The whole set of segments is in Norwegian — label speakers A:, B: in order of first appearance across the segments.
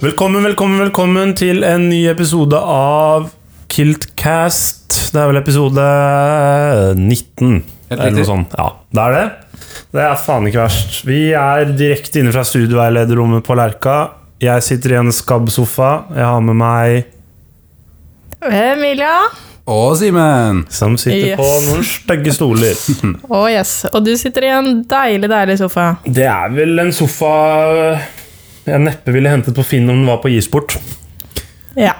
A: Velkommen, velkommen, velkommen til en ny episode av Kiltcast. Det er vel episode 19.
B: Helt
A: Eller noe
B: riktig.
A: sånt. Ja, det er det. Det er faen ikke verst. Vi er direkte inne fra studieveilederrommet på Lerka. Jeg sitter i en skabbsofa. Jeg har med meg
C: Emilia.
B: Og Simen!
A: som sitter
C: Yes.
A: på noen stygge stoler.
C: Å, yes. Og du sitter i en deilig, deilig sofa.
A: Det er vel en sofa jeg neppe ville hentet på Finn om den var på Gisport.
C: Ja,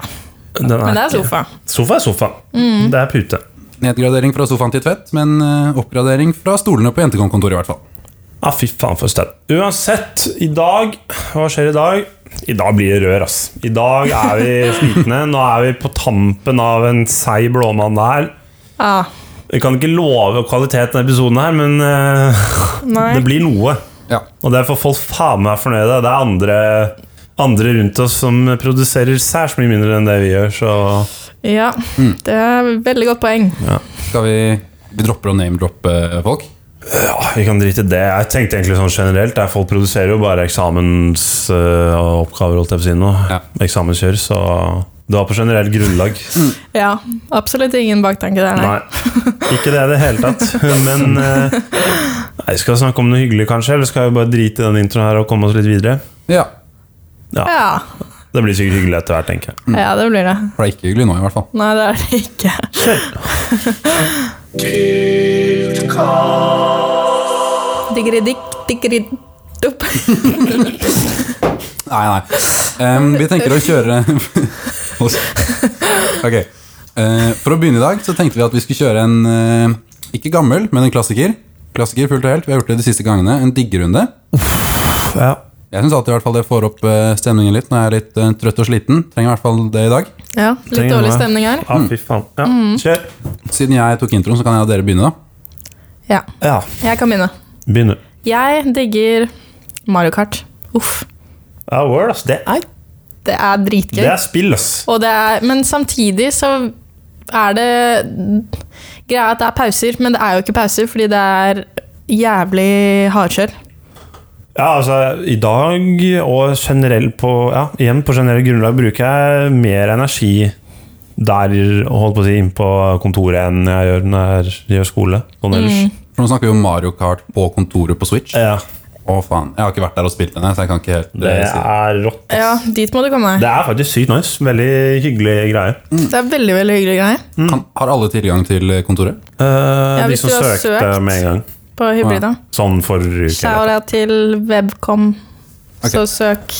A: Den
C: men det er
A: ikke-
C: sofa.
A: Sofa er sofa. Det er pute.
B: Nedgradering fra sofaen til tvett, men eh, oppgradering fra stolene på jentekontoret i hvert fall.
A: Ja, fy faen for sted. Uansett, i dag Hva skjer i dag? I dag blir det rør, ass. I dag er vi slitne. Nå er vi på tampen av en seig blåmann der.
C: Ja,
A: Jeg kan ikke love kvalitet i denne episoden her, men eh,
C: Nei.
A: det blir noe.
B: Ja.
A: Og derfor får folk faen meg fornøyde. Det er andre, andre rundt oss som produserer særs mye mindre enn det vi gjør, så
C: ja.
A: Mm.
C: det er et veldig godt poeng.
B: Skal vi Vi dropper å name-droppe eh, folk?
A: ja, vi kan drite i det. Jeg tenkte egentlig sånn generelt. Der folk produserer jo bare eksamensoppgaver, holdt jeg på å si nå.
B: Ja.
A: Eksamenskjør, så det var på generelt grunnlag.
C: Ja, absolutt ingen baktanke der, nei.
A: Nei, ikke det i det hele tatt. Men eh, nei, skal vi snakke om noe hyggelig, kanskje? Eller skal vi bare drite i den introen her og komme oss litt videre?
B: Ja.
A: Ja,
C: Ja.
A: Det blir sikkert hyggelig etter hvert, tenker jeg.
C: ja, det blir det.
B: For det er ikke hyggelig nå, i hvert fall.
C: Nei, det er det ikke. Diggeridikk, diggeridopp.
B: Nei, nei. Em, vi tenker å kjøre Ok. Eh, for å begynne i dag så tenkte vi at vi skulle kjøre en eh, ikke gammel, men en klassiker. Klassiker fullt og helt. Vi har gjort det de siste gangene. En diggerunde.
A: Ja.
B: Jeg syns alltid i hvert fall det får opp eh, stemningen litt når jeg er litt eh, trøtt og sliten. Trenger i hvert fall det i dag.
C: Ja, litt dårlig stemning her.
A: Ja, Ah, fy faen. Ja, kjør.
B: Siden jeg tok introen, så kan jeg og dere begynne, da.
C: Ja,
A: Ja,
C: jeg kan begynne.
A: begynner.
C: Jeg digger Mario Kart. Uff,
A: Ja, word, ass. Det er,
C: det er dritgøy.
A: det er spill, ass.
C: Og det er, men samtidig så er det greia at det er pauser, men det er jo ikke pauser fordi det er jævlig hardkjør.
A: Ja, altså, i dag og generelt på Ja, igjen på generelt grunnlag bruker jeg mer energi der, holdt på å si, inn på kontoret enn jeg gjør når jeg gjør skole. Sånn ellers.
C: Mm.
B: For nå snakker vi om Mario Kart på kontoret på Switch. Å,
A: Ja,
B: faen. Jeg har ikke vært der og spilt den, jeg, så jeg kan ikke helt
A: det
B: eh, si
A: er rått. ass.
C: Ja, dit må du komme.
A: Det er faktisk sykt nice. Veldig hyggelig greie.
C: Det er veldig veldig hyggelig greie
B: kan, Har alle tilgang til kontoret?
A: Eh, de
C: hvis
A: som
C: du har
A: søkte
C: søkt.
A: med en gang.
C: på hybrida.
A: Sånn forrige uke.
C: Shout out til Webcom. Så søk.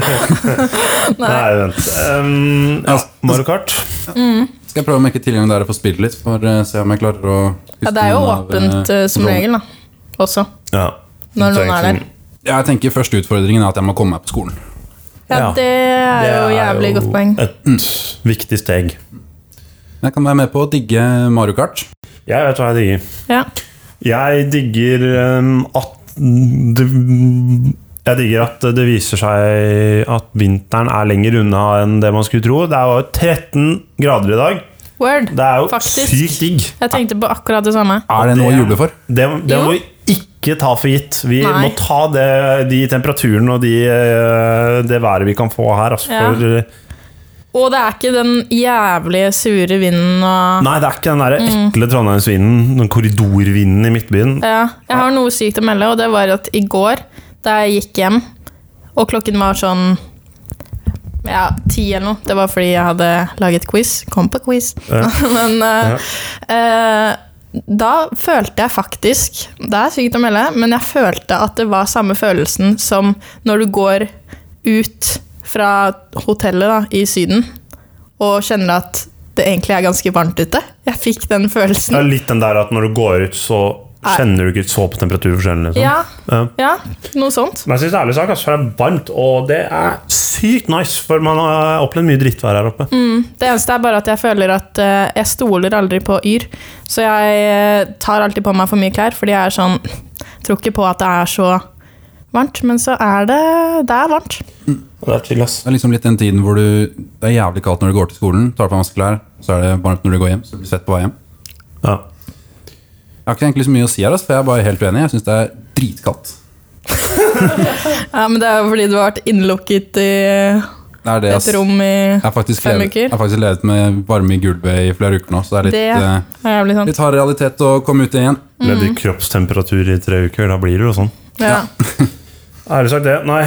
A: Nei,
C: Nei.
A: vent. Um, ja, Mario Kart.
B: Skal jeg prøve å mekke tilgang der jeg får spille litt, for å se om jeg klarer å
C: Ja, det er jo åpent eh,
B: sånn.
C: som regel, da. Også.
A: Ja. Så
C: Når noen er
A: egentlig-
C: der.
B: Jeg tenker første utfordringen er at jeg må komme meg på skolen.
C: Ja,
A: Ja.
C: det er jo jævlig godt poeng.
A: Et viktig steg.
B: Jeg kan være med på å digge Mario Kart.
A: Jeg vet hva jeg digger.
C: Ja.
A: Jeg digger ehm, at det, Jeg digger at det viser seg at vinteren er lenger unna enn det man skulle tro. Det er jo 13 grader i dag.
C: Word.
A: Det er jo
C: Faktisk.
A: sykt digg.
C: Jeg tenkte på akkurat det samme.
B: Er det noe å juble for?
A: Det, det må
C: Jo.
A: vi ikke ta for gitt. Vi
C: Nei.
A: må ta det, de temperaturene og de, eh, det været vi kan få her. Altså,
C: Ja.
A: for,
C: Og det er ikke den jævlig sure vinden og
A: nei, det er ikke den der
C: Mm.
A: ekle trondheimsvinden, den korridorvinden i Midtbyen.
C: ja, Jeg har noe sykt å melde, og det var at i går, da jeg gikk hjem, og klokken var sånn ja, ti eller noe. Det var fordi jeg hadde laget quiz. Kom på quiz.
A: Ja.
C: Men eh, eh, da følte jeg faktisk Det er sykt å melde, men jeg følte at det var samme følelsen som når du går ut fra hotellet da, i Syden og kjenner at det egentlig er ganske varmt ute. Jeg fikk den
A: Det
C: følelsen.
A: er litt den der at når du går ut, så
C: Nei.
A: kjenner du ikke så på temperaturforskjellen. Liksom.
C: Ja,
A: Ja.
C: ja, noe sånt.
A: Men jeg synes det er ærlig sak, altså, for det er varmt, og det er sykt nice, for man har opplevd mye drittvær her
C: Mm.
A: oppe.
C: Det eneste er bare at jeg føler at eh, jeg stoler aldri på Yr. Så jeg eh, tar alltid på meg for mye klær, fordi jeg er sånn Tror ikke på at det er så varmt, men så er det Det er varmt.
A: Og Det er chill, ass.
B: Det er liksom litt den tiden hvor du, det er jævlig kaldt når du går til skolen, tar på deg masse klær, så er det varmt når du går hjem, så blir du svett på vei hjem.
A: Ja.
B: Jeg har ikke egentlig så mye å si her, ass, for jeg er bare helt uenig. Jeg syns det er dritkaldt.
C: Ja, men det er jo fordi du har vært innelukket i
B: Det er det, ass.
C: et rom i
B: Jeg har faktisk,
C: Fem
B: levet,
C: uker.
B: jeg har faktisk levet med varme i gulvet i flere uker nå, så det er litt,
C: Det
B: eh,
C: er jævlig sant.
B: litt hard realitet å komme ut i igjen.
C: Mm.
A: Levd i kroppstemperatur i tre uker, da blir det jo sånn.
C: Ja.
A: Ærlig sagt, det. Nei.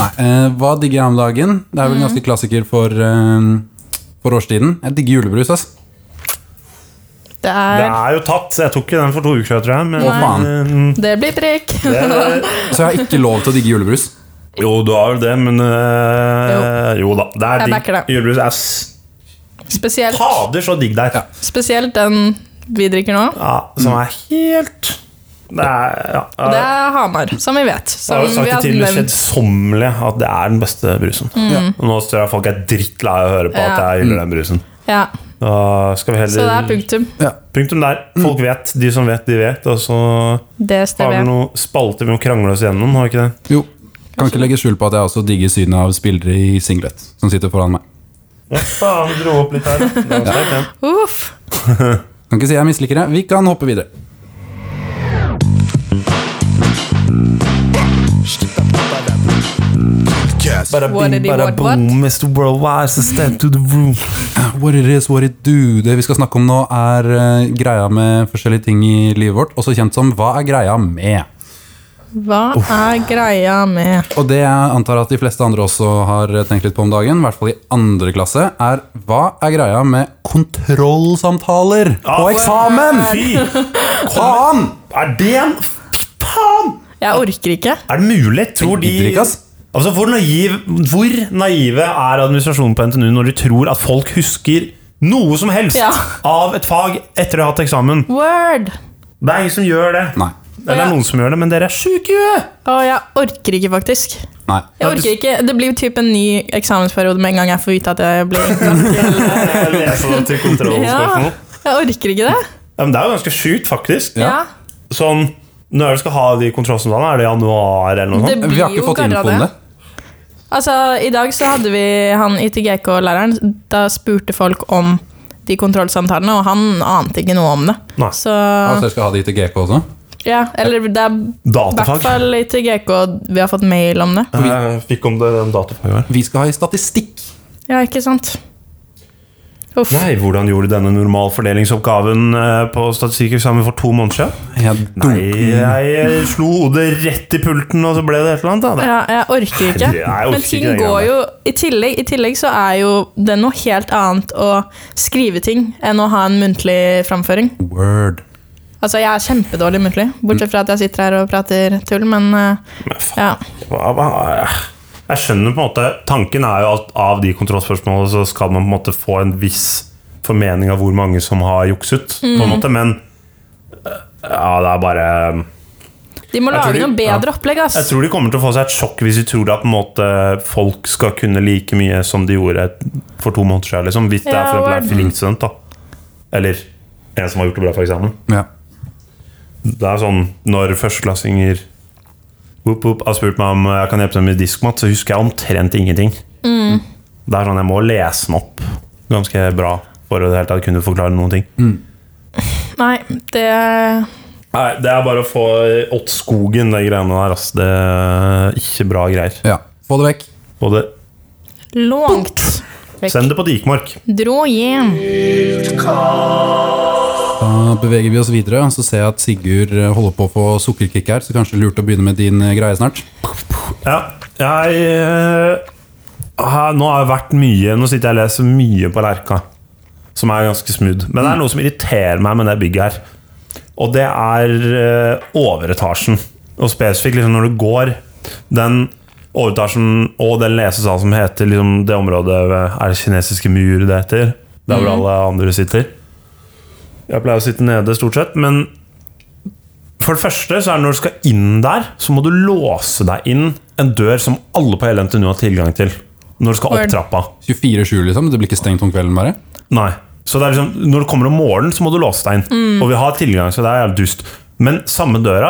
B: Nei, eh, hva digger jeg om dagen? Det er vel en ganske klassiker for, eh, for årstiden. Jeg digger julebrus, ass.
C: Det
A: Det
C: er
A: er jo tatt, så jeg tok ikke den for to uker siden, tror jeg. Men,
B: Å, faen.
A: Mm,
C: Det blir prikk.
A: det,
B: Så jeg har ikke lov til å digge julebrus.
A: jo, du har vel det, men øh, jo. da. Det
C: Jeg
A: er digg.
C: backer det.
A: Julebrus er s-
C: Spesielt,
A: fader så digg der.
B: Ja.
C: spesielt den vi drikker nå.
A: Ja, som er helt Det er ja.
C: Og det er Hamar, som vi vet.
A: Jeg
C: Som
A: har jo
C: vi
A: sagt det
C: har
A: til det
C: nevnt. Mm.
A: kjedsommelige at det er den beste brusen.
B: Ja.
A: Og nå tror jeg folk er drittlei av å høre på at
C: Ja.
A: jeg hyller den brusen.
C: Ja,
A: Da skal vi
C: så det er
A: heller
C: punktum.
B: Ja.
A: Punktum der. Folk vet. De som vet, de vet. Og så har vi
C: DSTV.
A: noen spalter vi må krangle oss gjennom, har vi ikke det?
B: Jo, kan ikke legge skjul på at jeg også digger synet av spillere i singlet som sitter foran meg.
A: Ja, faen, dro opp litt her. Det var sterkt, den.
C: Uff.
B: Kan ikke si jeg misliker det. Vi kan hoppe videre.
A: Bara
C: What did he
A: bara
C: want, what?
A: Mr. Worldwide, so step to the room.
B: What it is, what it do. Det vi skal snakke om nå, er eh, greia med forskjellige ting i livet vårt. Også kjent som Hva er greia med?
C: Hva er greia med
B: Og det jeg antar at de fleste andre også har tenkt litt på om dagen, i hvert fall i andre klasse, er hva er greia med kontrollsamtaler på eksamen?
A: Ah, Fy
B: Faen!
A: Er det en Faen!
C: Jeg orker ikke.
A: Er det mulig? Tror de
B: Jeg gidder ikke, ass.
A: Altså, hvor, naiv, hvor naive er administrasjonen på NTNU når de tror at folk husker noe som helst
C: Ja.
A: av et fag etter å ha hatt eksamen?
C: Word.
A: Det er ingen som gjør det.
B: Nei.
A: Eller det er noen som gjør det, men dere er sjuke i huet!
C: Å, jeg orker ikke, faktisk.
B: Nei.
C: Jeg orker ikke. Det blir jo typ en ny eksamensperiode med en gang jeg får vite at jeg blir
A: Jeg leser det til kontrollspørsmål.
C: Ja. Jeg orker ikke det.
A: Ja, men det er jo ganske sjukt, faktisk.
C: Ja.
A: Sånn, når du skal ha de kontrollsamtalene, er det i januar eller noe sånt?
C: Det
B: Vi
C: blir
B: har ikke
C: jo
B: fått info om
C: garra
B: det.
C: det. Altså, I dag så hadde vi han ITGK-læreren. Da spurte folk om de kontrollsamtalene, og han ante ikke noe om det.
A: Nei.
C: Så
B: Altså, dere skal ha det i til GK også?
C: ja, Eller det er i hvert
A: Datafag.
C: fall ITGK vi har fått mail om det.
A: Jeg fikk om det den datafaget her.
B: Vi skal ha i statistikk.
C: Ja, ikke sant? Uff.
A: Nei, hvordan gjorde denne normalfordelingsoppgaven eh, på statistikkeksamen for to måneder siden?
B: Jeg
A: Nei,
B: dunker.
A: jeg slo hodet rett i pulten, og så ble det et eller annet. Da.
C: Ja, jeg orker ikke.
A: Nei, jeg orker
C: Men
A: ikke altså.
C: ting
A: den
C: går
A: greia
C: jo i tillegg, I tillegg så er jo det noe helt annet å skrive ting enn å ha en muntlig framføring.
B: Word.
C: Altså, jeg er kjempedårlig muntlig,
A: Mm.
C: bortsett fra at jeg sitter her og prater tull, men eh, ja.
A: Hva, hva, jeg skjønner på en måte Tanken er jo at av de kontrollspørsmålene så skal man på en måte få en viss formening av hvor mange som har jukset, på en måte, men eh, Ja, det er bare
C: De må
A: Jeg tror
C: lage
A: de-
C: noe bedre opplegg,
A: Jeg
C: ass.
A: tror de kommer til å få seg et sjokk hvis de tror at på en måte, folk skal kunne like mye som de gjorde for to måneder siden. Liksom, hvis det er
C: Ja,
A: for eksempel
C: word.
A: en flink student, da. Eller en som har gjort det bra på eksamen.
B: Ja.
A: Det er sånn når førsteklassinger whoop, whoop, har spurt meg om jeg kan hjelpe dem med diskmat, så husker jeg omtrent ingenting. Det er sånn jeg må lese den opp ganske bra for å i det hele tatt kunne forklare noen ting.
C: Nei, det
A: Nei, det er bare å få åt skogen, de greiene der. ass. Det er ikke bra greier.
B: ja. Få det vekk.
A: Både
C: Langt vekk.
A: Send det på Dikmark.
C: Dro hjem.
B: Da beveger vi oss videre, så ser jeg at Sigurd eh, holder på å få sukkerkick her, så kanskje det er lurt å begynne med din eh, greie snart.
A: Ja, jeg eh, har- Nå har jeg vært mye Nå sitter jeg og leser mye på Lerka Som er ganske smooth Men det er noe som irriterer meg med det bygget her Og det er eh, overetasjen Og spesifikt liksom når du går Den overetasjen Og den lesesal som heter liksom, Det området ved- er det kinesiske mur det heter Der hvor alle andre sitter Jeg pleier å sitte nede stort sett Men for det første så er det når du skal inn der, så må du låse deg inn en dør som alle på hele NTNU har tilgang til. Når du skal
C: Word.
A: opp trappa.
B: 24-7, liksom? Det blir ikke stengt om kvelden, bare?
A: Nei. Så det er liksom, når du kommer om morgenen, så må du låse deg inn. Og vi har tilgang, så det er jævlig dust. Men samme døra,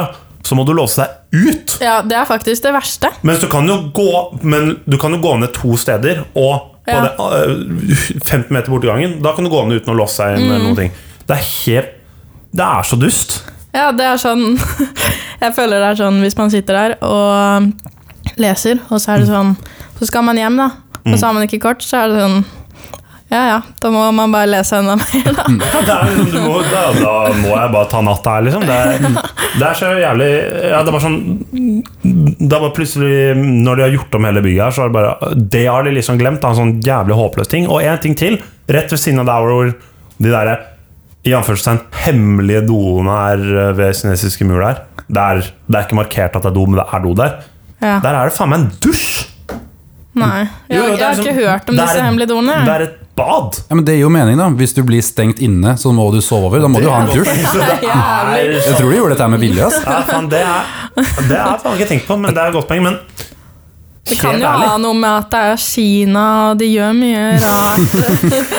A: så må du låse deg ut.
C: Ja, det er faktisk det verste.
A: Mens du kan jo gå, men du kan jo gå ned to steder, og på
C: Ja.
A: det, øh, 15 meter borti gangen, da kan du gå ned uten å låse deg inn. eller noen ting. Det er helt Det er så dust.
C: Ja, det er sånn Jeg føler det er sånn hvis man sitter der og leser, og så er
A: Mm.
C: det sånn Så skal man hjem, da, og så har man ikke kort, så er det sånn Ja ja, da må man bare lese enda mer, da.
A: Ja, det er liksom, du må, da, da må jeg bare ta natta her, liksom. Det er, det er så jævlig ja, Det er bare sånn Det er bare plutselig, når de har gjort om hele bygget her, så er det bare Det har de liksom glemt. Det er en sånn jævlig håpløs ting. Og en ting til, rett ved siden av der hvor de der i anførselstegn hemmelige doene er eh, ved kinesiske mur der. Det er, det er ikke markert at det er do, men det er do der.
C: Ja.
A: Der er det faen meg en dusj!
C: Nei. Jeg,
A: Jo, jo,
C: jeg
A: det er
C: har
A: som-
C: ikke hørt
A: det
C: om
A: er et-
C: disse hemmelige
A: Det
C: doene.
A: er et bad!
B: Ja, men Det gir jo mening, da. Hvis du blir stengt inne, så må du sove over. Da må du ha en dusj.
A: Så det
C: Jævlig.
A: er
B: Jeg tror de gjorde dette her med vilje. ass.
A: Ja, faen, det er Det har jeg faen ikke tenkt på, men det er et godt poeng. Men
C: Det kan
A: helt
C: jo
A: ærlig,
C: ha noe med at det er Kina, og de gjør mye rart.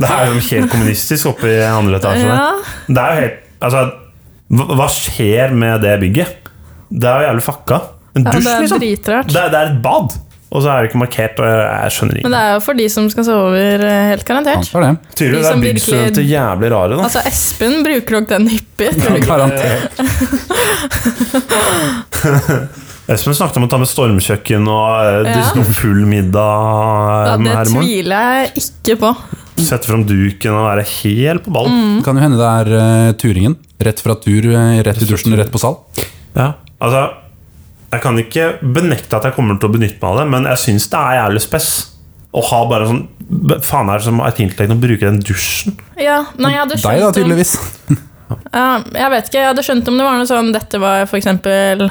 A: det er jo helt kommunistisk oppe i andre etasje. der.
C: Ja.
A: Det er jo helt Altså, hva hva skjer med det bygget? Det er jo jævlig fucka. En
C: Ja,
A: dusj,
C: det er
A: liksom. Det
C: dritrart.
A: er, det er et bad, og så er det ikke markert. Og jeg skjønner
C: Men
A: ikke.
C: det er jo for de som skal sove over, eh, helt garantert.
B: Antar det.
A: Tydeligvis er
C: de som
A: byggstudenter
C: virkelig-
A: jævlig rare, da.
C: Altså, Espen bruker nok den hyppig. tror du ikke?
B: Garantert.
A: Espen snakket om å ta med stormkjøkken og eh,
C: Ja.
A: diske opp full middag.
C: Da,
A: eh, her
C: det
A: i morgen.
C: tviler jeg ikke på.
A: Sette fram duken og være helt på ballen.
C: Mm.
B: Kan jo hende det er eh, turingen. Rett fra tur, eh, rett i dusjen, rett på sal.
A: Ja, altså Jeg kan ikke benekte at jeg kommer til å benytte meg av det, men jeg syns det er jævlig spess å ha bare sånn b- Faen, er det som IT-intellekt å bruke den dusjen?
C: Ja, nei, jeg, hadde
B: Deg,
C: skjønt
B: da, tydeligvis.
C: Om, ja, jeg vet ikke, jeg hadde skjønt om det var noe sånn Dette var for eksempel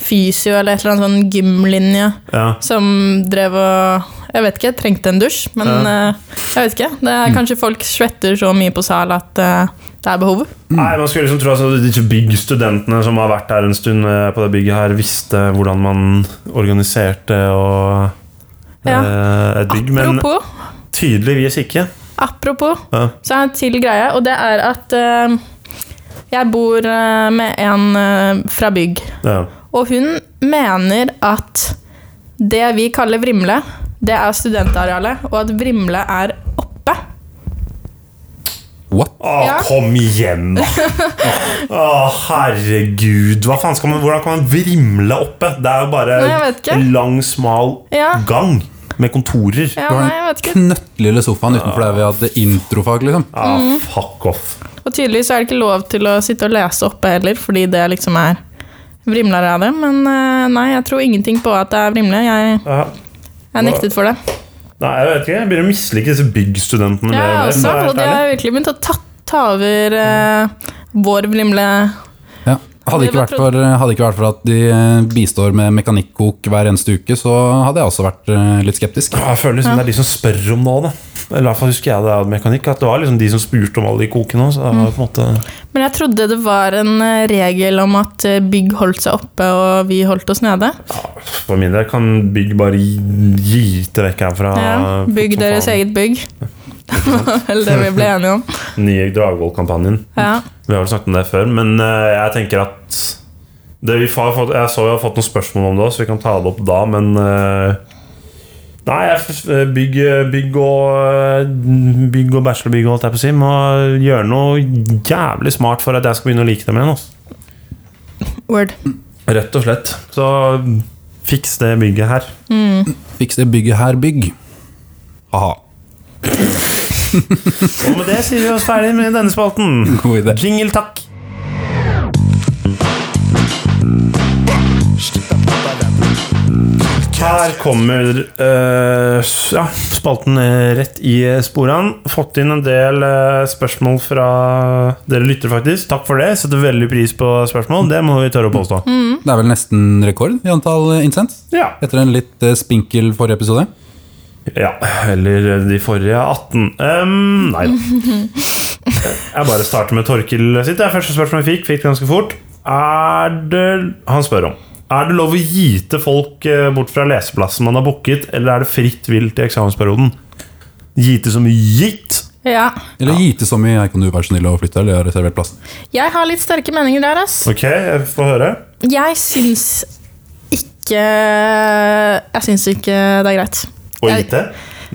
C: fysio eller et eller annet sånn gymlinje
A: Ja.
C: som drev og Jeg vet ikke, trengte en dusj, men
A: Ja. Mm.
C: eh, jeg vet ikke. Det er kanskje folk svetter så mye på sal at eh, det er behov.
A: Nei, Man skulle liksom tro at altså, disse byggstudentene som har vært her en stund eh, på det bygget her, visste hvordan man organiserte og eh, et bygg, men
C: Apropos,
A: tydeligvis ikke.
C: apropos
A: Ja.
C: Så er det en til greie, og det er at eh, jeg bor eh, med en eh, fra bygg.
A: Ja.
C: Og hun mener at det vi kaller Vrimle, det er studentarealet, og at Vrimle er oppe.
B: What?
A: Å,
C: Ja.
A: kom igjen, da! Å, herregud. Hva faen skal man, hvordan kan man vrimle oppe? Det er jo bare
C: Nei, jeg vet ikke.
A: en lang, smal
C: Ja.
A: gang med kontorer.
C: Ja,
B: Du har
C: nei, jeg vet
B: den
C: ikke.
B: knøttlille sofaen utenfor der vi hadde introfag, liksom.
A: Ah,
C: Mm.
A: fuck off.
C: Og tydeligvis er det ikke lov til å sitte og lese oppe heller, fordi det liksom er Vrimlearealet. Men eh, nei, jeg tror ingenting på at det er Vrimle. Jeg,
A: Ja.
C: jeg nektet for det.
A: Nei, jeg vet ikke. Jeg begynner å mislike disse byggstudentene mer
C: Ja,
A: og mer,
C: også,
A: for å være
C: og de
A: helt ærlig.
C: har virkelig begynt å ta, ta over eh, vår Vrimle.
B: Ja. Hadde, ikke vært for, hadde ikke vært for at de eh, bistår med mekanikkok hver eneste uke, så hadde jeg også vært eh, litt skeptisk.
A: Ja, Jeg føler liksom det er de som spør om noe. Da. Eller i hvert fall husker jeg det av mekanikk. At det var liksom de som spurte om alle de kokene. Så det
C: Mm.
A: var på en måte
C: Men jeg trodde det var en eh, regel om at eh, bygg holdt seg oppe og vi holdt oss nede.
A: ah, For min del kan bygg bare gi- gite vekk herfra.
C: Ja, bygg
A: Som
C: deres
A: faen.
C: eget bygg. Eller det vi ble enige om.
A: Nye Dragvoll-kampanjen.
C: Ja.
A: Vi har vel snakket om det før, men eh, jeg tenker at det vi har fått, Jeg så jeg har fått noen spørsmål om det, så vi kan ta det opp da, men eh, Nei, jeg, f- bygg, bygg og eh, Bygg og bachelorbygg og alt jeg på å si. Må gjøre noe jævlig smart for at jeg skal begynne å like dem igjen. Altså.
C: Word.
A: Rett og slett. Så fiks det bygget her.
B: Fiks det bygget her, bygg. Haha.
A: Og med det sier vi oss ferdig med denne spalten.
B: God idé.
A: Jingle, takk. Her kommer eh, s- ja, spalten eh, rett i sporene. Fått inn en del eh, spørsmål fra dere lyttere, faktisk. Takk for det. Setter veldig pris på spørsmål. Det må vi tørre å påstå.
C: Mm.
B: Det er vel nesten rekord i antall eh, innsendt?
A: Ja.
B: Etter en litt eh, spinkel forrige episode.
A: Ja, eller eh, de forrige 18. Um, nei da. Jeg bare starter med Torkil sitt. Det er første spørsmål jeg fikk. Fikk det ganske fort. Er det Han spør om Er det lov å gite folk eh, bort fra leseplassen man har booket, eller er det fritt vilt i eksamensperioden? Gite som gitt?
C: Ja.
B: Eller gite så mye, jeg kan du være så snill å flytte, eller jeg har reservert plassen.
C: Jeg har litt sterke meninger der, ass.
A: Ok, jeg får høre.
C: Jeg syns ikke Jeg syns ikke det er greit.
A: Å
C: Jeg-
A: gite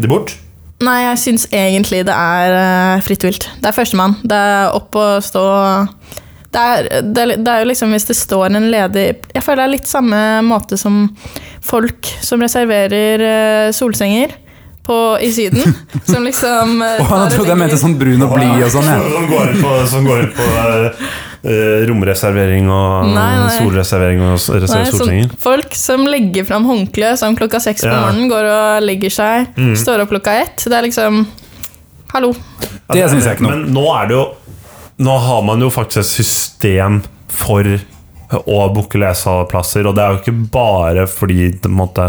A: de bort?
C: Nei, jeg syns egentlig det er eh, fritt vilt. Det er førstemann. Det er opp og stå. Det er, det, er, det er jo liksom hvis det står en ledig Jeg føler det er litt samme måte som folk som reserverer eh, solsenger på, i Syden. som liksom eh,
B: Å,
C: tar
B: jeg
C: og
B: trodde jeg mente
C: legger-
B: sånn brun og blid og sånn. jeg.
A: Som går ut på, som går ut på eh, romreservering og
C: Nei, nei.
A: solreservering og s-
C: Nei,
A: reservere solsenger.
C: sånn, folk som legger fram håndkle sånn klokka seks på
A: Ja.
C: morgenen, går og legger seg,
B: Mm.
C: står opp klokka ett. Det er liksom Hallo.
A: Ja,
B: Det synes jeg ikke noe om.
A: Men nå er det jo Nå har man jo faktisk et system for å booke lesesaleplasser, og det er jo ikke bare fordi det, på en måte,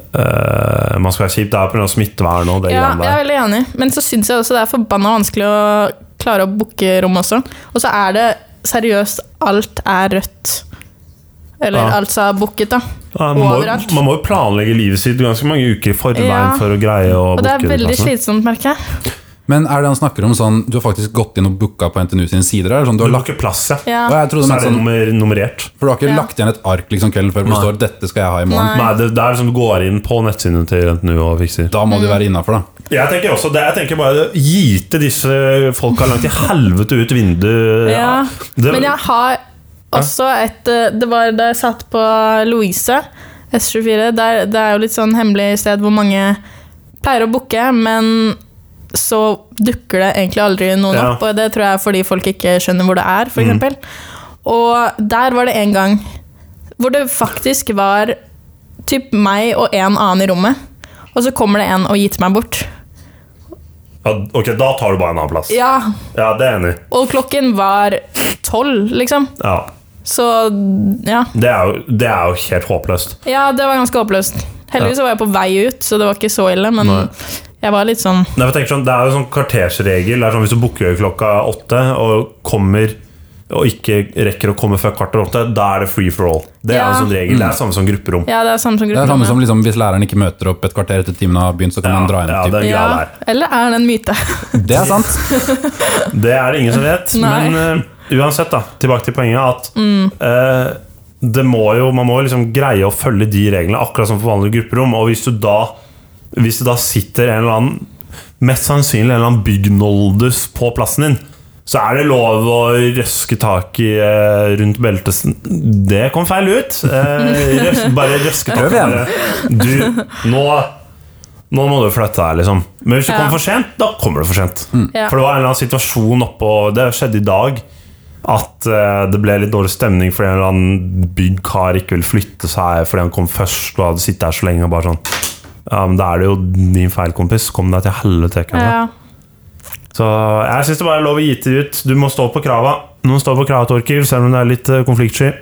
A: eh, man skal være kjip. Det er pga. smittevern og det
C: Ja,
A: greiene
C: jeg er
A: der.
C: veldig enig, men så syns jeg også det er forbanna vanskelig å klare å booke rom også. Og så er det seriøst alt er rødt. Eller
A: Ja.
C: alt som er booket, da.
A: Ja, man, må,
C: overalt.
A: man må jo planlegge livet sitt ganske mange uker i forveien
C: Ja.
A: for å greie å
C: Og det er
A: booke
C: veldig
A: plassene.
C: slitsomt, merker jeg.
B: Men er det han snakker om sånn Du har faktisk gått inn og booka på NTNU sine sider? Eller sånn, du
A: Du
B: har lagt,
A: booker plass, ja.
C: Ja.
B: Å, jeg trodde
A: Så
B: det
A: er
B: mente
A: det
B: sånn
A: nummer, nummerert.
B: For du har ikke
C: Ja.
B: lagt igjen et ark liksom kvelden før hvor det
A: Nei.
B: står 'dette skal jeg ha i morgen'?
C: Nei.
A: Nei, det, det er liksom du går inn på nettsidene til NTNU og fikser.
B: Da må du være innafor, da.
A: Jeg tenker også det, jeg tenker bare Gite disse folka langt i helvete ut vinduet.
C: Ja.
A: Det,
C: Men jeg har også et eh, Det var da jeg satt på Louise S24. Der, det er jo litt sånn hemmelig sted hvor mange pleier å booke, men så dukker det egentlig aldri noen
A: Ja. Mm.
C: opp. Og det tror jeg er fordi folk ikke skjønner hvor det er, f.eks. eksempel Og der var det en gang hvor det faktisk var typ meg og en annen i rommet. Og så kommer det en og gitt meg bort.
A: ja, ok, da tar du bare en annen plass.
C: Ja,
A: Ja, det er jeg enig. i.
C: Og klokken var tolv, liksom.
A: Ja,
C: Så ja.
A: det, er jo- det er jo helt håpløst.
C: Ja, det var ganske håpløst. Heldigvis var jeg på vei ut, så det var ikke så ille, men
A: Nei.
C: jeg var litt sånn
A: Nei, for jeg tenker sånn, det er jo sånn kvartersregel. Det er sånn, hvis du booker klokka åtte og kommer og ikke rekker å komme før kvart over åtte, da er det free for all. Det er
C: Ja.
A: en sånn regel. Det er samme som grupperom.
C: Ja, det er samme som
B: Det er samme som
C: grupperommet.
B: liksom, hvis læreren ikke møter opp et kvarter etter timen har begynt, så kan
A: Ja,
B: han dra
A: ja,
B: hjem.
A: det-
B: typ.
A: som- Ja,
C: Ja, eller er det en myte?
B: Det er sant.
A: Det er det ingen som vet.
C: Nei. Mm.
A: Men eh, uansett, da, tilbake til poenget at eh, det må jo, man må jo liksom greie å følge de reglene, akkurat som for vanlige grupperom. Og hvis du da, hvis det da sitter en eller annen Mest sannsynlig en eller annen bygnoldus på plassen din, så er det lov å røske tak i eh, rundt beltet sn- Det kom feil ut! Eh, røs, bare røske tak
B: Prøv igjen.
A: i det. Du, nå nå må du flytte deg, liksom. Men hvis du
C: Ja.
A: kommer for sent, da kommer du for sent.
C: Ja.
A: For det var en eller annen situasjon oppå Det skjedde i dag. At eh, det ble litt dårlig stemning fordi en eller annen byggkar ikke ville flytte seg fordi han kom først og hadde sittet her så lenge. Og bare sånn Ja, men da er det jo din feil, kompis. Kom deg til helvete. ikke sant?»
C: Ja.
A: Så jeg syns det bare er lov å gi til ut. Du må stå på krava. Du må stå på krava, Torkil, selv om det er litt eh, konfliktsky.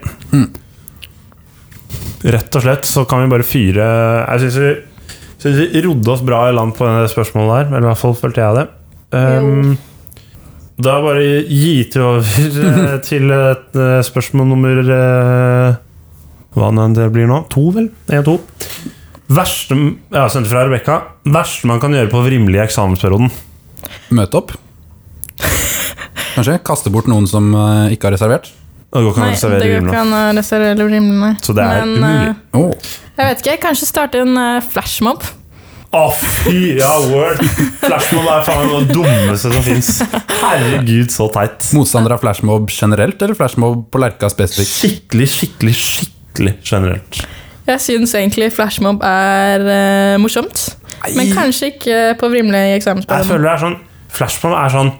A: Rett og slett så kan vi bare fyre Jeg syns vi, synes vi rodde oss bra i land på det spørsmålet der. Eller i hvert fall følte jeg det. Um, da bare gi til over eh, til et eh, spørsmål nummer eh, Hva nå enn det blir nå? To, vel? En, to. Verste, ja, sendt fra Rebekka. Verste man kan gjøre på vrimmelige eksamensperioden.
B: Møte opp. Kanskje kaste bort noen som eh, ikke har reservert.
A: Det går ikke an å
C: Nei, det
A: servere
C: går ikke
A: rimla.
C: an å reservere rimlene.
A: Så det er umulig.
C: eh,
B: Oh.
C: jeg vet ikke, kanskje starte en eh, flashmob?
A: Å, fy! Ja, word! Flashmob er faen meg det dummeste som fins. Herregud, så teit.
B: Motstander av flashmob generelt, eller flashmob på Lerka spesifikt?
A: Skikkelig, skikkelig, skikkelig generelt.
C: Jeg syns egentlig flashmob er eh, morsomt, men kanskje ikke på Vrimle i
A: Jeg
C: eksamensperioden.
A: føler det er sånn Flashmob er sånn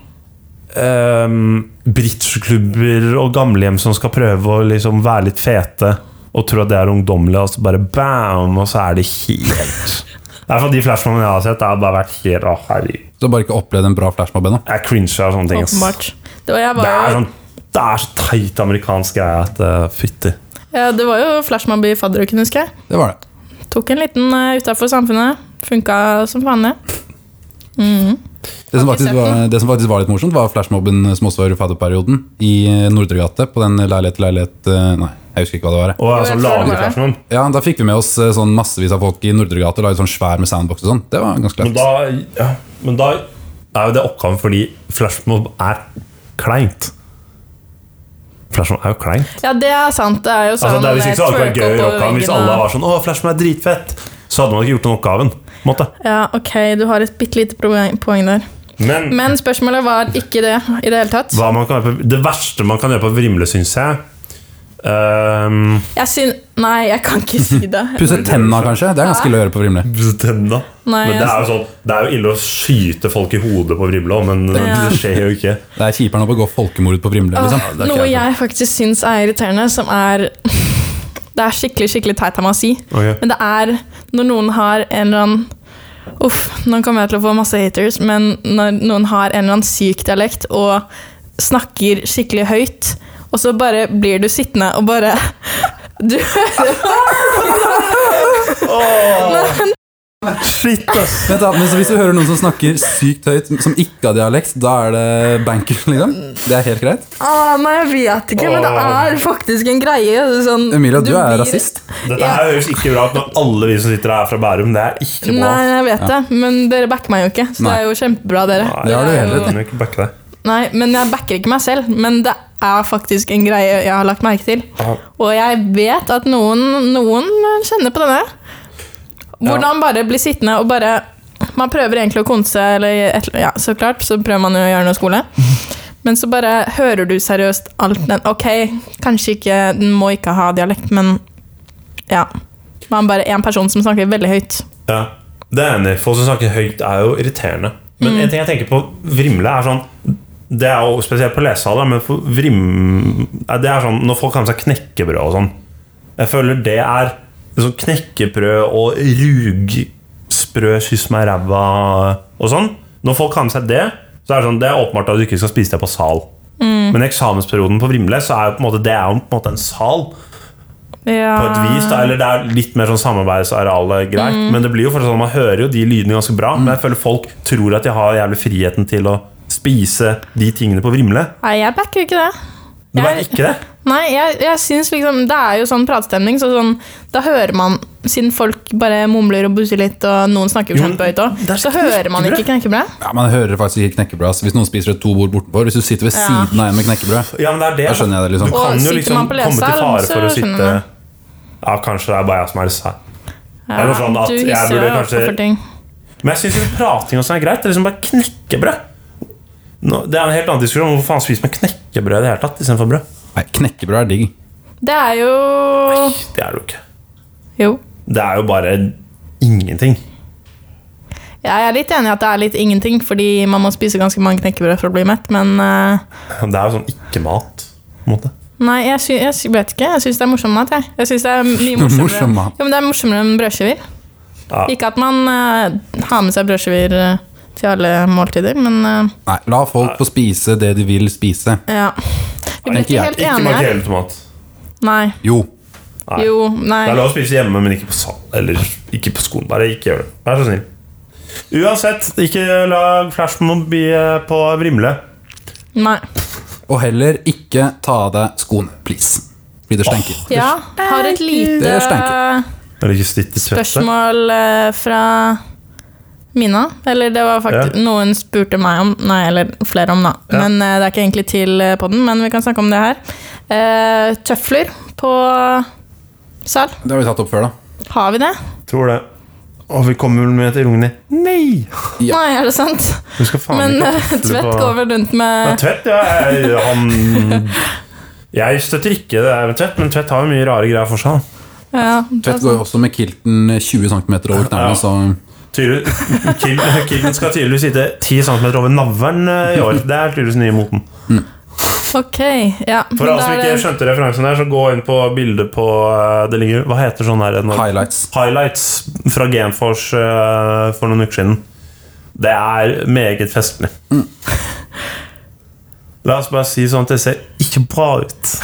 A: ehm, Bridgeklubber og gamlehjem som skal prøve å liksom være litt fete og tro at det er ungdommelig, og så bare bam, og så er det helt I hvert fall de flashmobene jeg har sett, det har bare vært helt Å, herregud.
B: Du har bare ikke opplevd en bra flashmob ennå.
A: Jeg cringer av sånne ting. ass.
C: Åpenbart. Det var, jeg
A: Det
C: var,
A: er
C: jo-
A: sånn det er så teit amerikansk greie at uh, fytti.
C: ja, det var jo flashmob i fadderuken, husker jeg.
B: Det var det.
C: Tok en liten uh, utafor samfunnet. Funka som faen, det.
B: Det som,
C: Har ikke
B: faktisk
C: sett
B: var, det som faktisk var litt morsomt, var flashmobben som også var i fadderperioden. I Nordre gate, på den leilighet til leilighet eh, Nei, jeg husker ikke hva det var. jeg.
A: Og altså,
C: jeg tror det var det.
A: lagerflashen
B: Ja, Da fikk vi med oss eh, sånn massevis av folk i Nordre gate og lagde sånn svær med soundbox og sånn. Det var ganske
A: men,
B: lett.
A: da, ja, men da er jo det oppgaven fordi flashmob er kleint. Flashmob er jo kleint.
C: Ja, det er sant. Det er jo sånn
A: Altså, det er hvis ikke så hadde det vært gøy
C: twerk
A: i
C: opp på
A: oppgaven. Hvis
C: veggen
A: alle
C: og-
A: var sånn 'Å, flashmob er dritfett', så hadde man ikke gjort den oppgaven. på en Måte.
C: Ja, ok, du har et bitte lite poeng poeng der.
A: Men
C: Men spørsmålet var ikke det i det hele tatt.
A: hva man kan gjøre på, det verste man kan gjøre på Vrimle, syns jeg ehm,
C: Jeg syn... Nei, jeg kan ikke si det.
B: Pusse tenna, kanskje? Det er ganske ille å gjøre på Vrimle.
A: Tenna?
C: Nei,
A: men
C: altså-
A: det er,
C: jeg-
A: jo sånn, det er jo ille å skyte folk i hodet på Vrimle, også, men
C: Ja.
A: det skjer jo ikke.
B: Det er kjipere enn å begå folkemord på Vrimle.
C: Åh,
B: Liksom.
A: det er ikke
C: Ah, noe
A: jeg.
C: jeg faktisk syns er irriterende, som er Det er skikkelig skikkelig teit av meg å si,
A: Ok.
C: men det er når noen har en eller annen Uff, nå kommer jeg til å få masse haters, men når noen har en eller annen syk dialekt og snakker skikkelig høyt, og så bare blir du sittende og bare Du hører
A: Shit, ass!
B: Vent da, men så Hvis du hører noen som snakker sykt høyt, som ikke har dialekt, da er det bankers? Liksom. Det er helt greit.
C: Åh, Nei, jeg vet ikke, men det er faktisk en greie. Sånn,
B: Emilia, du er
C: blir-
B: rasist.
A: Dette
C: Ja.
A: her høres ikke bra ut når alle vi som sitter her, er fra Bærum. Det er ikke bra.
C: Nei, jeg vet det, men dere backer meg jo ikke, så
B: Nei.
C: det er jo kjempebra, dere.
A: Nei,
B: Det har du helt rett i.
A: kan jo ikke backe deg.
C: Nei, men jeg backer ikke meg selv. Men det er faktisk en greie jeg har lagt merke til.
A: Ja.
C: Og jeg vet at noen, noen kjenner på denne. Hvordan bare bli sittende og bare Man prøver egentlig å konse, eller et, ja, så klart, så prøver man jo å gjøre noe skole. Men så bare hører du seriøst alt den Ok, kanskje ikke Den må ikke ha dialekt, men ja. Man bare én person som snakker veldig høyt.
A: Ja. Det er jeg enig. i. Folk som snakker høyt, er jo irriterende. Men en ting jeg tenker på Vrimle, er sånn Det er jo spesielt på lesesaler, men for vrim... Nei, Det er sånn når folk har med seg knekkebrød og sånn. Jeg føler det er sånn knekkebrød og rugsprø kyss meg i ræva og sånn. Når folk har med seg det, så er det sånn Det er åpenbart at du ikke skal spise det på sal. Men i eksamensperioden på Vrimle så er jo på en måte, det er jo på en måte en sal.
C: Ja.
A: på et vis,
C: Ah.
A: da, eller det er litt mer sånn samarbeidsarealet greit,
C: Mm.
A: men det blir jo fortsatt sånn, man hører jo de lydene ganske bra, men jeg føler folk tror at de har jævlig friheten til å spise de tingene på Vrimle.
C: Nei, jeg backer ikke det.
A: Det var
C: Jeg-
A: ikke det.
C: Nei, jeg, jeg synes liksom Det er jo sånn pratstemning, så sånn Da hører man Siden folk bare mumler og busser litt, og noen snakker jo
A: Jo, men
C: kjempehøyt òg,
A: det er
C: så hører man ikke knekkebrød.
B: Ja, Man hører faktisk ikke knekkebrød. ass. Hvis noen spiser et to bord bortenfor, hvis du sitter ved
C: Ja.
B: siden av en med knekkebrød
A: Ja, men det er det.
B: Da skjønner jeg det, liksom.
A: Du kan
C: Og
A: jo
C: sitter
A: liksom
C: man på
A: komme til
C: lesesalen,
A: fare
C: så
A: for å
C: skjønner
A: sitte
C: man.
A: Ja, kanskje det er bare jeg som er sær.
C: Ja,
A: Eller sånn at
C: du
A: jeg
C: hisser
A: burde
C: deg opp
A: kanskje-
C: over ting.
A: Men jeg syns prating også er greit. Det er liksom bare knekkebrød. Nå, det er en helt annen diskusjon. Hvorfor faen spiser man knekkebrød i det hele tatt istedenfor brød?
B: Nei, knekkebrød er digg.
C: Det er jo
A: Det er det jo ikke.
C: Jo.
A: Det er jo bare ingenting.
C: Jeg er litt enig i at det er litt ingenting, fordi man må spise ganske mange knekkebrød for å bli mett, men eh,
A: Det er jo sånn ikke-mat. på en måte.
C: Nei, jeg, sy jeg sy vet ikke. Jeg syns det er morsom mat, jeg. Jeg synes det er mye morsommere.
B: Morsom mat.
C: Jo, men det er morsommere enn brødskiver.
A: Ja.
C: Ikke at man eh, har med seg brødskiver eh, til alle måltider, men eh,
B: Nei, La folk få spise det de vil spise.
C: Ja. Vi ble
B: Nei, ikke
C: ikke
B: jeg.
C: helt
A: Ikke
C: enige her.
A: makrell i tomat.
C: Nei.
B: Jo.
A: Nei.
C: Jo,
A: Det er
C: nei.
A: lov å spise hjemme, men ikke på sal. Eller ikke på skolen. Bare ikke gjør det. Vær så snill. Uansett, ikke lag flashmob i- eh, på Vrimle.
C: nei.
B: Og heller ikke ta av deg skoene, please. Fordi det stinker.
C: Ja, har et lite
B: Det stenker.
A: Eller ikke sitte i svette.
C: spørsmål eh, fra Mina. Eller det var faktisk noen spurte meg om, nei, eller flere om, da.
A: Ja.
C: Men eh, det er ikke egentlig til eh, podden, men vi kan snakke om det her. Eh, tøfler på sal.
B: Det har vi tatt opp før, da.
C: Har vi det?
A: Tror det. Og vi kommer vel med til Rogni. Nei!
B: Ja.
C: Nei, er det sant?
A: Du skal faen
C: Men
A: ikke
C: eh,
A: ha tøfler
C: Tvedt
A: på-
C: går vel rundt
A: Ja,
C: med
A: Tvedt, ja. Jeg, han Jeg støtter ikke det der med Tvedt, men Tvedt har jo mye rare greier for seg. da.
C: ja,
B: Tvedt går jo også med kilten 20 cm over knærne,
A: Ja.
B: så
A: Tydelig- Kill- Kilden skal tydeligvis sitte 10 cm over navlen eh, i år. Det er tydeligvis den nye moten.
C: Ok, ja.
A: For alle
C: men eh, da
A: som
C: er
A: ikke
C: det-
A: skjønte referansen der, så gå inn på bildet på eh, Det ligger, Hva heter sånn her? når-
B: highlights.
A: Highlights fra Genfors eh, for noen uker siden. Det er meget festlig. La oss bare si sånn at det ser ikke bra ut.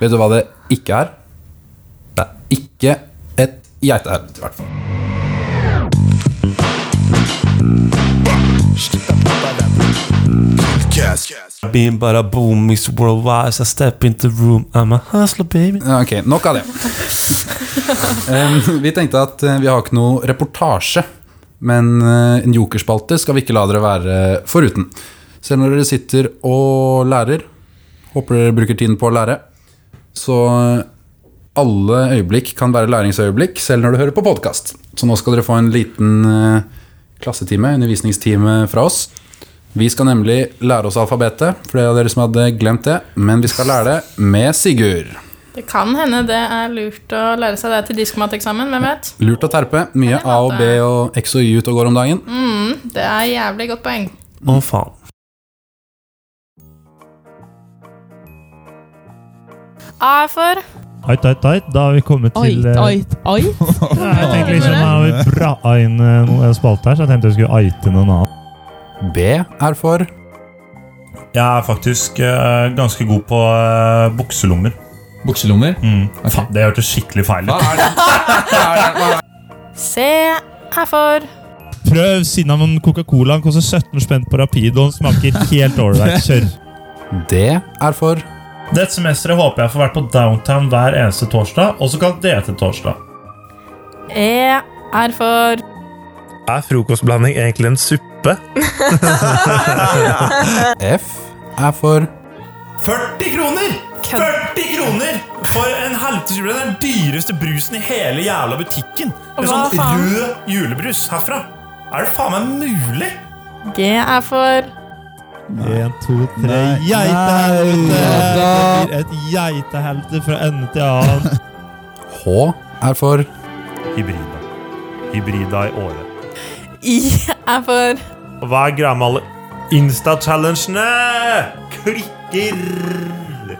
B: Vet du hva det ikke er? Det er ikke et geitehelvete, i hvert fall.
A: Beam bara boom, Mr. Worldwide, I step into the room, I'm a hustler, baby.
B: Ja, Ok, nok av det. Em, vi tenkte at eh, vi har ikke noe reportasje, men eh, en jokerspalte skal vi ikke la dere være foruten. Selv når dere sitter og lærer, håper dere bruker tiden på å lære, så eh, alle øyeblikk kan være læringsøyeblikk, selv når du hører på podkast. Så nå skal dere få en liten eh, klassetime, undervisningstime fra oss. Vi skal nemlig lære oss alfabetet, for det er dere som hadde glemt det. Men vi skal lære det med Sigurd.
C: Det kan hende det er lurt å lære seg det til diskmateksamen, hvem vet?
B: Lurt å terpe. Mye A og B og X og Y ut og går om dagen.
C: Det er jævlig godt poeng.
D: Å, faen.
C: A er for
E: Ait, ait, ait. Da har vi kommet til eh,
F: oi.
E: Jeg tenkte liksom jeg har jo bra inn eh, noe spalte her, så jeg tenkte jeg skulle aite noen annen.
B: B er for
A: Jeg er faktisk eh, ganske god på eh, bukselommer.
F: Bukselommer.
A: Faen, det hørtes skikkelig feil
B: Hva
A: ut.
B: er det? Hva er det? Hva er det?
C: C er for
E: Prøv cinnamon Coca-Cola. Den koster 17 spenn på Rapidoen. Smaker helt ålreit. Kjør.
B: D er for
A: Dette semesteret håper jeg får vært på downtown hver eneste torsdag, også kalt DT-torsdag.
C: E er for
G: Er frokostblanding egentlig en suppe?
B: F er for
A: 40 kroner! 40 kroner for en helvetes julebrus! Det er den dyreste brusen i hele jævla butikken. En
C: Hva
A: sånn
C: faen?
A: rød julebrus herfra. Er det faen meg mulig?
C: G er for
E: Én, to, tre.
H: Nei.
E: Geitehelvete!
F: Nei.
E: Det blir et geitehelvete fra ende til annen.
B: H er for
A: Hybrida. Hybrida i året.
C: I er for
A: Og Hva er greia med alle Insta-challengene? Klikker!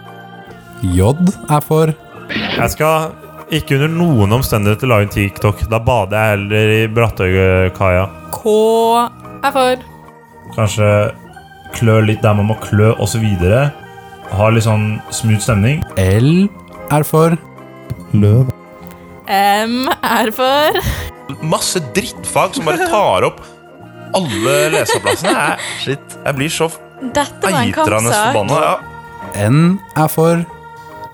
B: J er for
A: Jeg skal ikke under noen omstendigheter lage en TikTok. Da bader jeg heller i Brattøykaia.
C: K er for
A: Kanskje klø litt der man må klø, osv. Ha litt sånn smooth stemning.
B: L er for
E: Løv.
C: M er for
G: Masse drittfag som bare tar opp alle leseplassene. Jeg, shit, jeg blir så
I: Dette var en
G: eitrende
I: kampsak.
G: forbanna. Ja.
B: N er for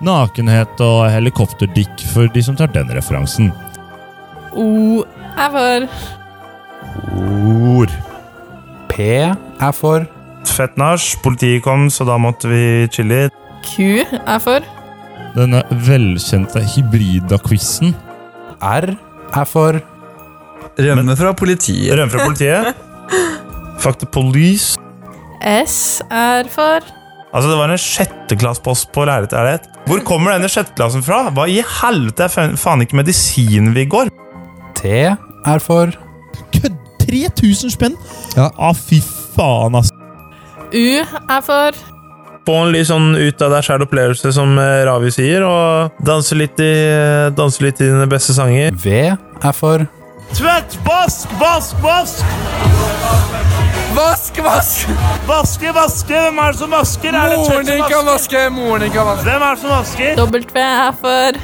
E: Nakenhet og helikopterdick for de som tar den referansen.
C: O er for
A: Ord.
B: P er for
A: Fett nach. Politiet kom, så da måtte vi chille litt.
C: Q er for
E: Denne velkjente hybrida-quizen.
B: R er for
H: Rømme fra politiet.
A: Rømme fra politiet. Fuck the police.
C: S er for
A: Altså, det var en sjetteklassepost på Lerret er det et? Hvor kommer denne sjetteklassen fra? Hva i helvete er fa- faen ikke medisin vi går?
B: T er for
E: Kødd! 3000 spenn?
H: Ja.
E: Ah, fy faen, ass.
C: U er for
G: Få en litt sånn ut av deg sjæl opplevelse, som eh, Ravi sier, og danse litt i, eh, danse litt i dine beste sanger.
B: V er for
A: Tvett, vask, vask, vask!
F: Vask, vask!
A: Vaske, vaske! Hvem er det som vasker? Er det
F: Moren din
A: tøft
F: kan
A: som vasker?
F: vaske! Moren din kan vaske!
A: Hvem er det som vasker?
C: W er for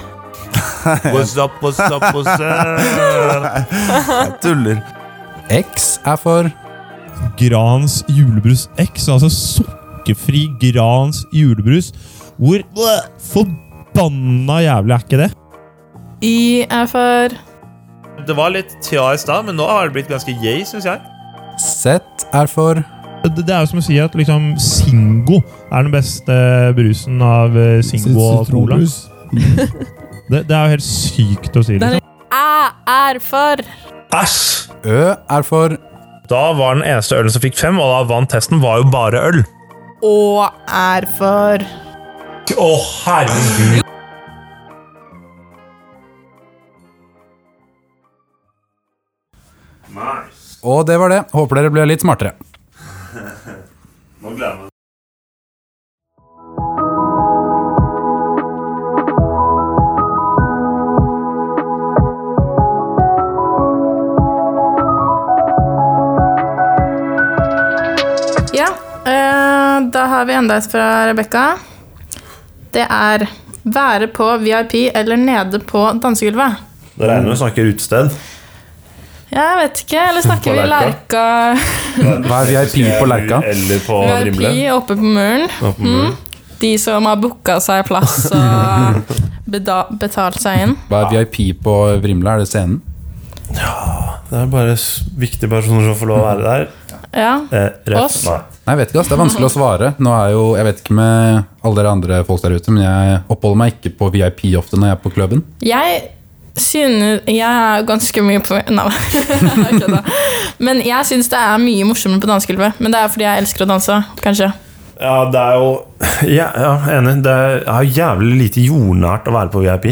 A: What's up, what's up, what's up?
H: Jeg tuller.
B: X er for
E: Grans julebrus X, altså sukkerfri Grans julebrus. Hvor bleh, forbanna jævlig er ikke det?
C: I er for
G: Det var litt tja i stad, men nå har det blitt ganske yay, syns jeg.
B: Z er for
E: Det, det er jo som å si at liksom Singo er den beste brusen av eh, Singo og Cola.
H: Sitronbrus.
E: Det, det er jo helt sykt å si.
F: Den er-
E: liksom.
C: Æ er for
G: Æsj!
B: Ø er for
G: Da var den eneste ølen som fikk fem, og da vant testen, var jo bare øl.
C: Å er for
A: Å, herregud.
B: Og det var det. Håper dere ble litt smartere.
A: Nå gleder jeg meg.
C: Ja, eh, da har vi enda et fra Rebekka. Det er være på VIP eller nede på dansegulvet.
D: Det regner med å snakke utested.
C: Jeg vet ikke, eller snakker vi
D: På
C: Lerka
B: Hva er VIP på Lerka?
D: Eller på
C: VIP
D: Rimle.
C: oppe på muren? Mm. De som har booka seg plass og beda- betalt seg inn.
B: Hva er VIP på Vrimle? Er det scenen?
D: Det er bare s- viktige personer som får lov å være der.
C: Ja.
D: Eh, rett.
C: Oss.
D: Nei.
B: Nei, jeg vet ikke, ass. Det er vanskelig å svare. Nå er jo, Jeg vet ikke med alle dere andre folk der ute, men jeg oppholder meg ikke på VIP ofte når jeg er på klubben.
C: Jeg synes Jeg er jo ganske mye på Nei, jeg kødda. Men jeg syns det er mye morsommere på dansegulvet. Men det er fordi jeg elsker å danse, kanskje.
A: Ja, det er jo Ja, ja enig. Det er er jo jævlig lite jordnært å være på VIP.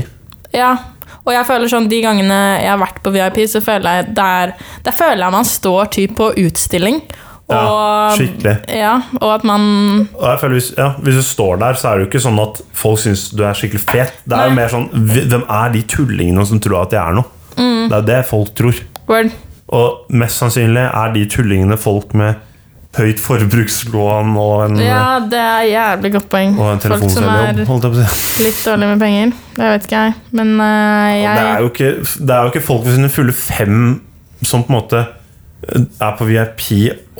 C: Ja. Og jeg føler sånn, de gangene jeg har vært på VIP, så føler jeg der, der føler jeg man står typ på utstilling. Og,
A: Ja,
C: Um,
A: skikkelig.
C: Ja, og at man
A: Og jeg føler hvis, ja, hvis du står der, så er det jo ikke sånn at folk syns du er skikkelig fet. Det er jo
C: Nei.
A: mer sånn "Hv- Hvem er de tullingene som tror at de er noe?
C: Mm.
A: Det er jo det folk tror.
C: Word.
A: Og mest sannsynlig er de tullingene folk med høyt forbrukslån og en,
C: Ja, det er jævlig godt poeng.
A: Mm. og en
C: Folk som er
A: telefonselgerjobb, holdt jeg på å si.
C: litt dårlige med penger. Det vet ikke jeg. Men eh,
A: Det er,
C: jeg
A: jo ikke, det er jo ikke folk ved sine fulle fem som på en måte eh, er på VIP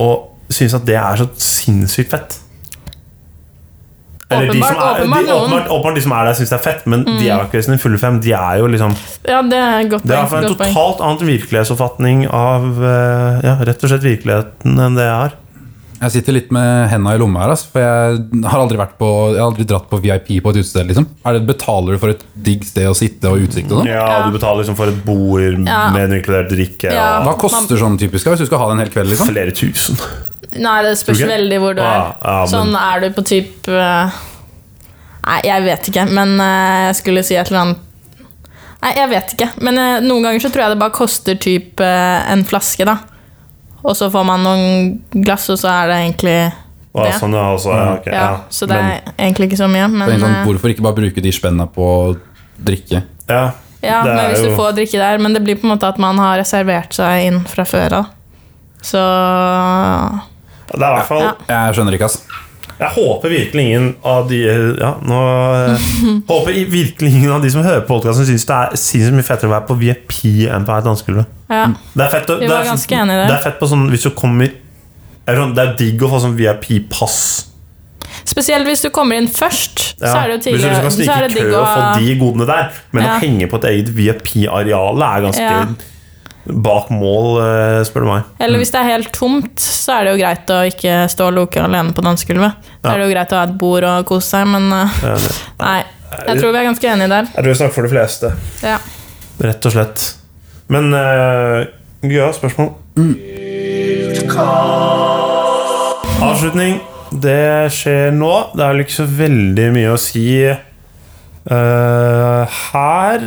A: og syns at det er så sinnssykt fett. Eller de som
C: Åpenbart-
A: er,
C: åpenbart
A: de,
C: noen.
A: åpenbart, åpenbart de som er der, syns det er fett, men de er jo ikke ved sine fulle fem. De er jo liksom
C: Ja, det er godt
A: Det er i
C: poeng.
A: hvert fall en
C: godt poeng.
A: totalt annen virkelighetsoppfatning av eh, ja, rett og slett virkeligheten enn det jeg har.
B: Jeg sitter litt med henda i lomma her, altså, for jeg har aldri vært på Jeg har aldri dratt på VIP på et utested. liksom er det, Betaler du for et digg sted å sitte og utsikt og sånn?
A: Ja, du betaler liksom for et bord
C: Ja.
A: med en inkludert drikke
C: Ja.
B: Hva koster sånn typisk hvis du skal ha det en hel
A: og
B: kveld? liksom?
A: flere tusen.
C: Nei, det
A: Tror
C: spørs
A: du ikke?
C: veldig hvor du er.
A: Ah, ja, men-
C: Sånn er du på typ eh, Nei, jeg vet ikke, men eh, jeg skulle si et eller annet Nei, jeg vet ikke, men eh, noen ganger så tror jeg det bare koster typ eh, en flaske, da. Og så får man noen glass, og så er det egentlig
A: Og
C: det.
A: sånn, ja, også, ja, ok,
C: ja,
A: ja.
C: så det er egentlig ikke så mye, men,
B: Tenk Sånn,
C: eh,
B: hvorfor ikke bare bruke de spenna på å drikke?
A: Ja,
C: ja,
A: det
C: men
A: er
C: hvis du
A: jo-
C: får drikke der Men det blir på en måte at man har reservert seg inn fra før av. Så
A: Det er i hvert fall
C: Ja.
B: Jeg skjønner ikke, ass.
A: Jeg håper virkelig ingen av de Ja, nå eh, Håper i- virkelig ingen av de som hører på podkasten, syns det er sinnssykt mye fettere å være på VIP enn på et dansegulv.
C: ja.
A: Det er fett, å-
C: Vi
A: det
C: var
A: er,
C: ganske enige i det.
A: Det er fett på sånn hvis du kommer Det er, sånn, det er digg å få sånn VIP-pass.
C: Spesielt hvis du kommer inn først, så er det jo
A: Hvis
C: tidlig
A: du liksom skal
C: så er
A: snike
C: det
A: i kø
C: digg å
A: og få de godene der, men
C: Ja.
A: å henge på et eget VIP-areal er ganske
C: Ja.
A: bak mål, eh, spør du meg.
C: Eller hvis det er helt tomt, så er det jo greit å ikke stå og loke alene på dansegulvet. Da
A: Ja.
C: er det jo greit å ha et bord og kose seg, men uh,
A: Eh,
C: nei. Jeg tror vi er ganske enige der.
A: Jeg tror vi snakker for de fleste.
C: Ja.
A: Rett og slett. Men uh, gøye spørsmål. Avslutning. Det skjer nå. Det er vel ikke så veldig mye å si eh, her.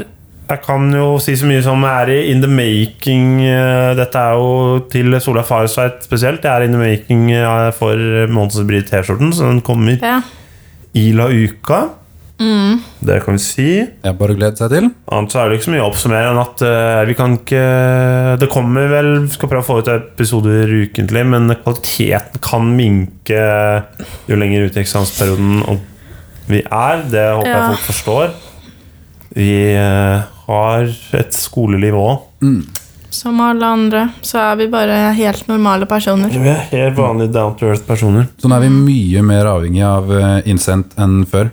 A: Jeg kan jo si så mye som er i in the making. eh, dette er jo til Sola Farsveit spesielt. Det er in the making eh, for Monsters Bride T-skjorten, så den kommer
C: ja. Mm.
A: i la uka. Det kan vi si.
B: Jeg bare gleder seg til.
A: Annet så er det ikke så mye å oppsummere enn at eh, vi kan ikke Det kommer vel Vi skal prøve å få ut episoder ukentlig, men kvaliteten kan minke jo lenger ut i eksamensperioden og vi er. Det håper jeg
C: Ja.
A: folk forstår. Vi eh, har et skoleliv òg.
C: Som alle andre, så er vi bare helt normale personer.
A: Vi er helt vanlige down to earth-personer.
B: Sånn er vi mye mer avhengig av eh, innsendt enn før.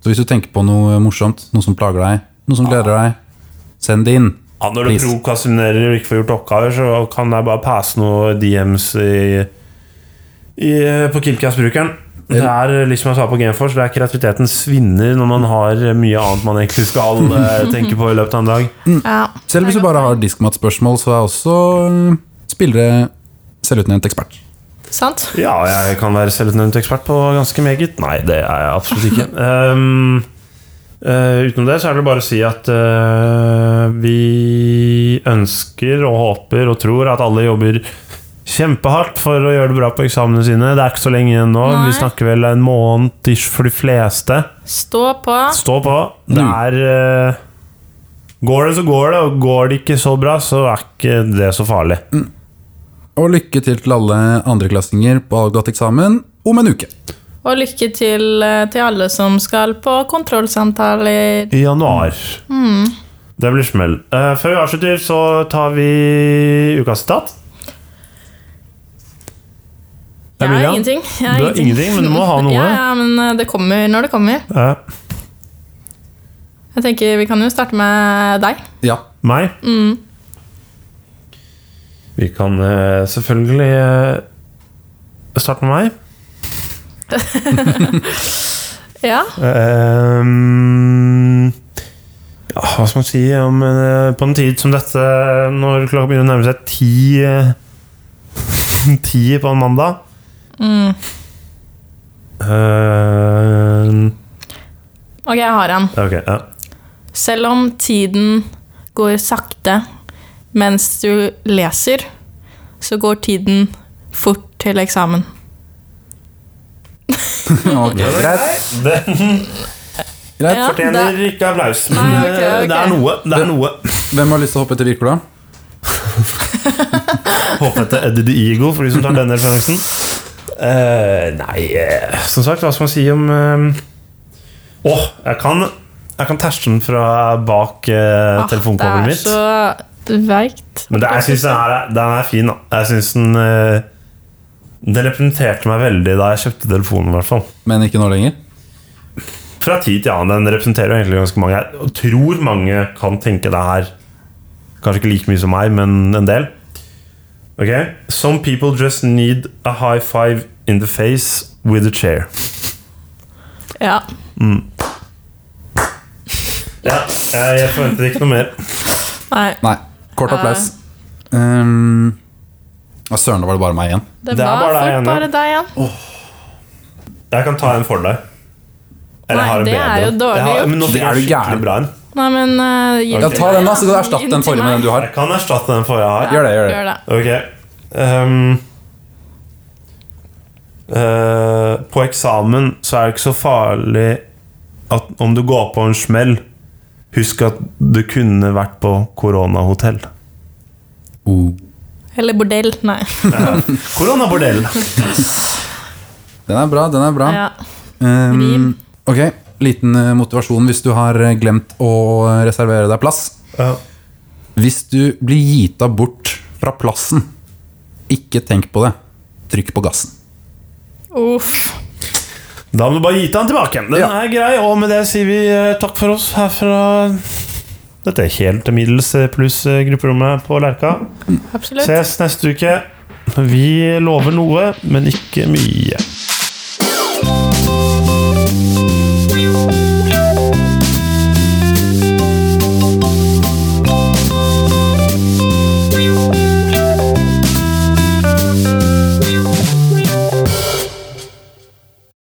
B: Så hvis du tenker på noe eh, morsomt, noe som plager deg, noe som gleder deg, send det inn.
A: Ja, når du
B: Please.
A: prokrastinerer og ikke får gjort oppgaver, så kan jeg bare passe noe DMs i, i, på Killcast-brukeren. Det er litt som jeg sa på Gameforce, det er kreativiteten svinner når man har mye annet man egentlig skal eh, tenke på i løpet av en dag.
C: Ja.
B: Selv hvis du bare har diskmatspørsmål, så er også mm, spillere selvutnevnt ekspert.
C: Sant?
A: Ja, jeg kan være selvutnevnt ekspert på ganske meget. Nei, det er jeg absolutt ikke. Ehm, eh, utenom det så er det bare å si at eh, vi ønsker og håper og tror at alle jobber kjempehardt for å gjøre det bra på eksamene sine. Det er ikke så lenge igjen nå.
C: Nei.
A: Vi snakker vel en måned ish for de fleste.
C: Stå på.
A: Stå på. Det er eh, Går det, så går det, og går det ikke så bra, så er ikke det så farlig.
B: Og lykke til til alle andreklassinger på avgått-eksamen om en uke.
C: Og lykke til eh, til alle som skal på kontrollsamtaler.
A: I januar. Det blir smell. Eh, før vi avslutter, så tar vi ukas sitat.
C: Jeg har
A: Emilia,
C: ingenting. Jeg
A: du har ingenting, men du må ha noe.
C: Ja, ja, men eh, det kommer når det kommer.
A: Eh,
C: Jeg tenker Vi kan jo starte med deg.
B: Ja.
A: meg. Vi kan eh, selvfølgelig eh, starte med meg.
C: Ja.
A: Ehm, ja, hva skal man si om, eh, på en tid som dette, når klokka begynner å nærme seg ti eh, Ti på en mandag.
C: Mm.
A: Eh,
C: Ok, jeg har en.
A: ok, ja.
C: Selv om tiden går sakte mens du leser, så går tiden fort til eksamen.
B: Ok, greit. Greit.
C: Ja,
A: Fortjener
C: det-
A: ikke applaus, men
C: Nei, ok,
A: eh,
C: ok.
A: det er noe. Det er noe.
B: Hvem har lyst til å hoppe etter Wirkola?
A: Håper at det er Eddie the Eagle for de som tar den referansen. Eh, nei, eh, som sagt, hva skal man si om eh, Åh, jeg kan Jeg kan terste den fra bak uh, telefonkålen mitt.
C: Ah, Det er Ah, så veikt.
A: Men det, jeg syns den, her er- den er fin, da. Jeg synes den eh, Den representerte meg veldig da jeg kjøpte telefonen, i hvert fall.
B: Men ikke nå lenger.
A: Fra tid til annen. Den representerer jo egentlig ganske mange. Jeg tror mange kan tenke det her Kanskje ikke like mye som meg, men en del. Ok? Some people just need a high five in the face with a chair.
C: Ja.
A: Ja, jeg jeg forventet ikke noe mer.
C: Nei,
B: Nei. Kort applaus. Um, ja, søren, da var det bare meg igjen.
C: det,
A: Det er
C: var
A: bare deg
C: fort
A: igjen, ja.
C: bare deg igjen.
A: Jeg kan ta en for deg.
C: Nei, det er jo dårlig
A: Jeg har-
C: gjort.
A: men nå
B: Det
A: fikk
B: er
A: jeg
B: du
A: skikkelig
B: gæren.
A: bra en.
C: Nei, men eh, gi
B: Ja, ta den, da, så kan du erstatte
C: Gi
B: den
C: til
B: forrige med den
C: meg.
B: du har.
A: Jeg kan erstatte den forrige jeg har.
B: Gjør det, gjør det.
C: Gjør det.
A: Ok Ehm, eh, På eksamen så er det ikke så farlig at om du går på en smell Husk at du kunne vært på koronahotell.
B: Oh.
C: Eller bordell. Nei.
A: Koronabordell!
B: Den er bra, den er bra.
C: Ja.
B: Um,
C: Rim.
B: ok, liten eh, motivasjon hvis du har eh, glemt å eh, reservere deg plass.
A: Ja.
B: Hvis du blir gita bort fra plassen, ikke tenk på det. Trykk på gassen.
C: Uff.
A: Da må du bare gi den tilbake. Den
B: Ja.
A: er grei, og med det sier vi eh, takk for oss herfra. Dette er helt middels eh, pluss eh, grupperommet på Lerka.
C: Absolutt.
A: Ses neste uke. Vi lover noe, men ikke mye.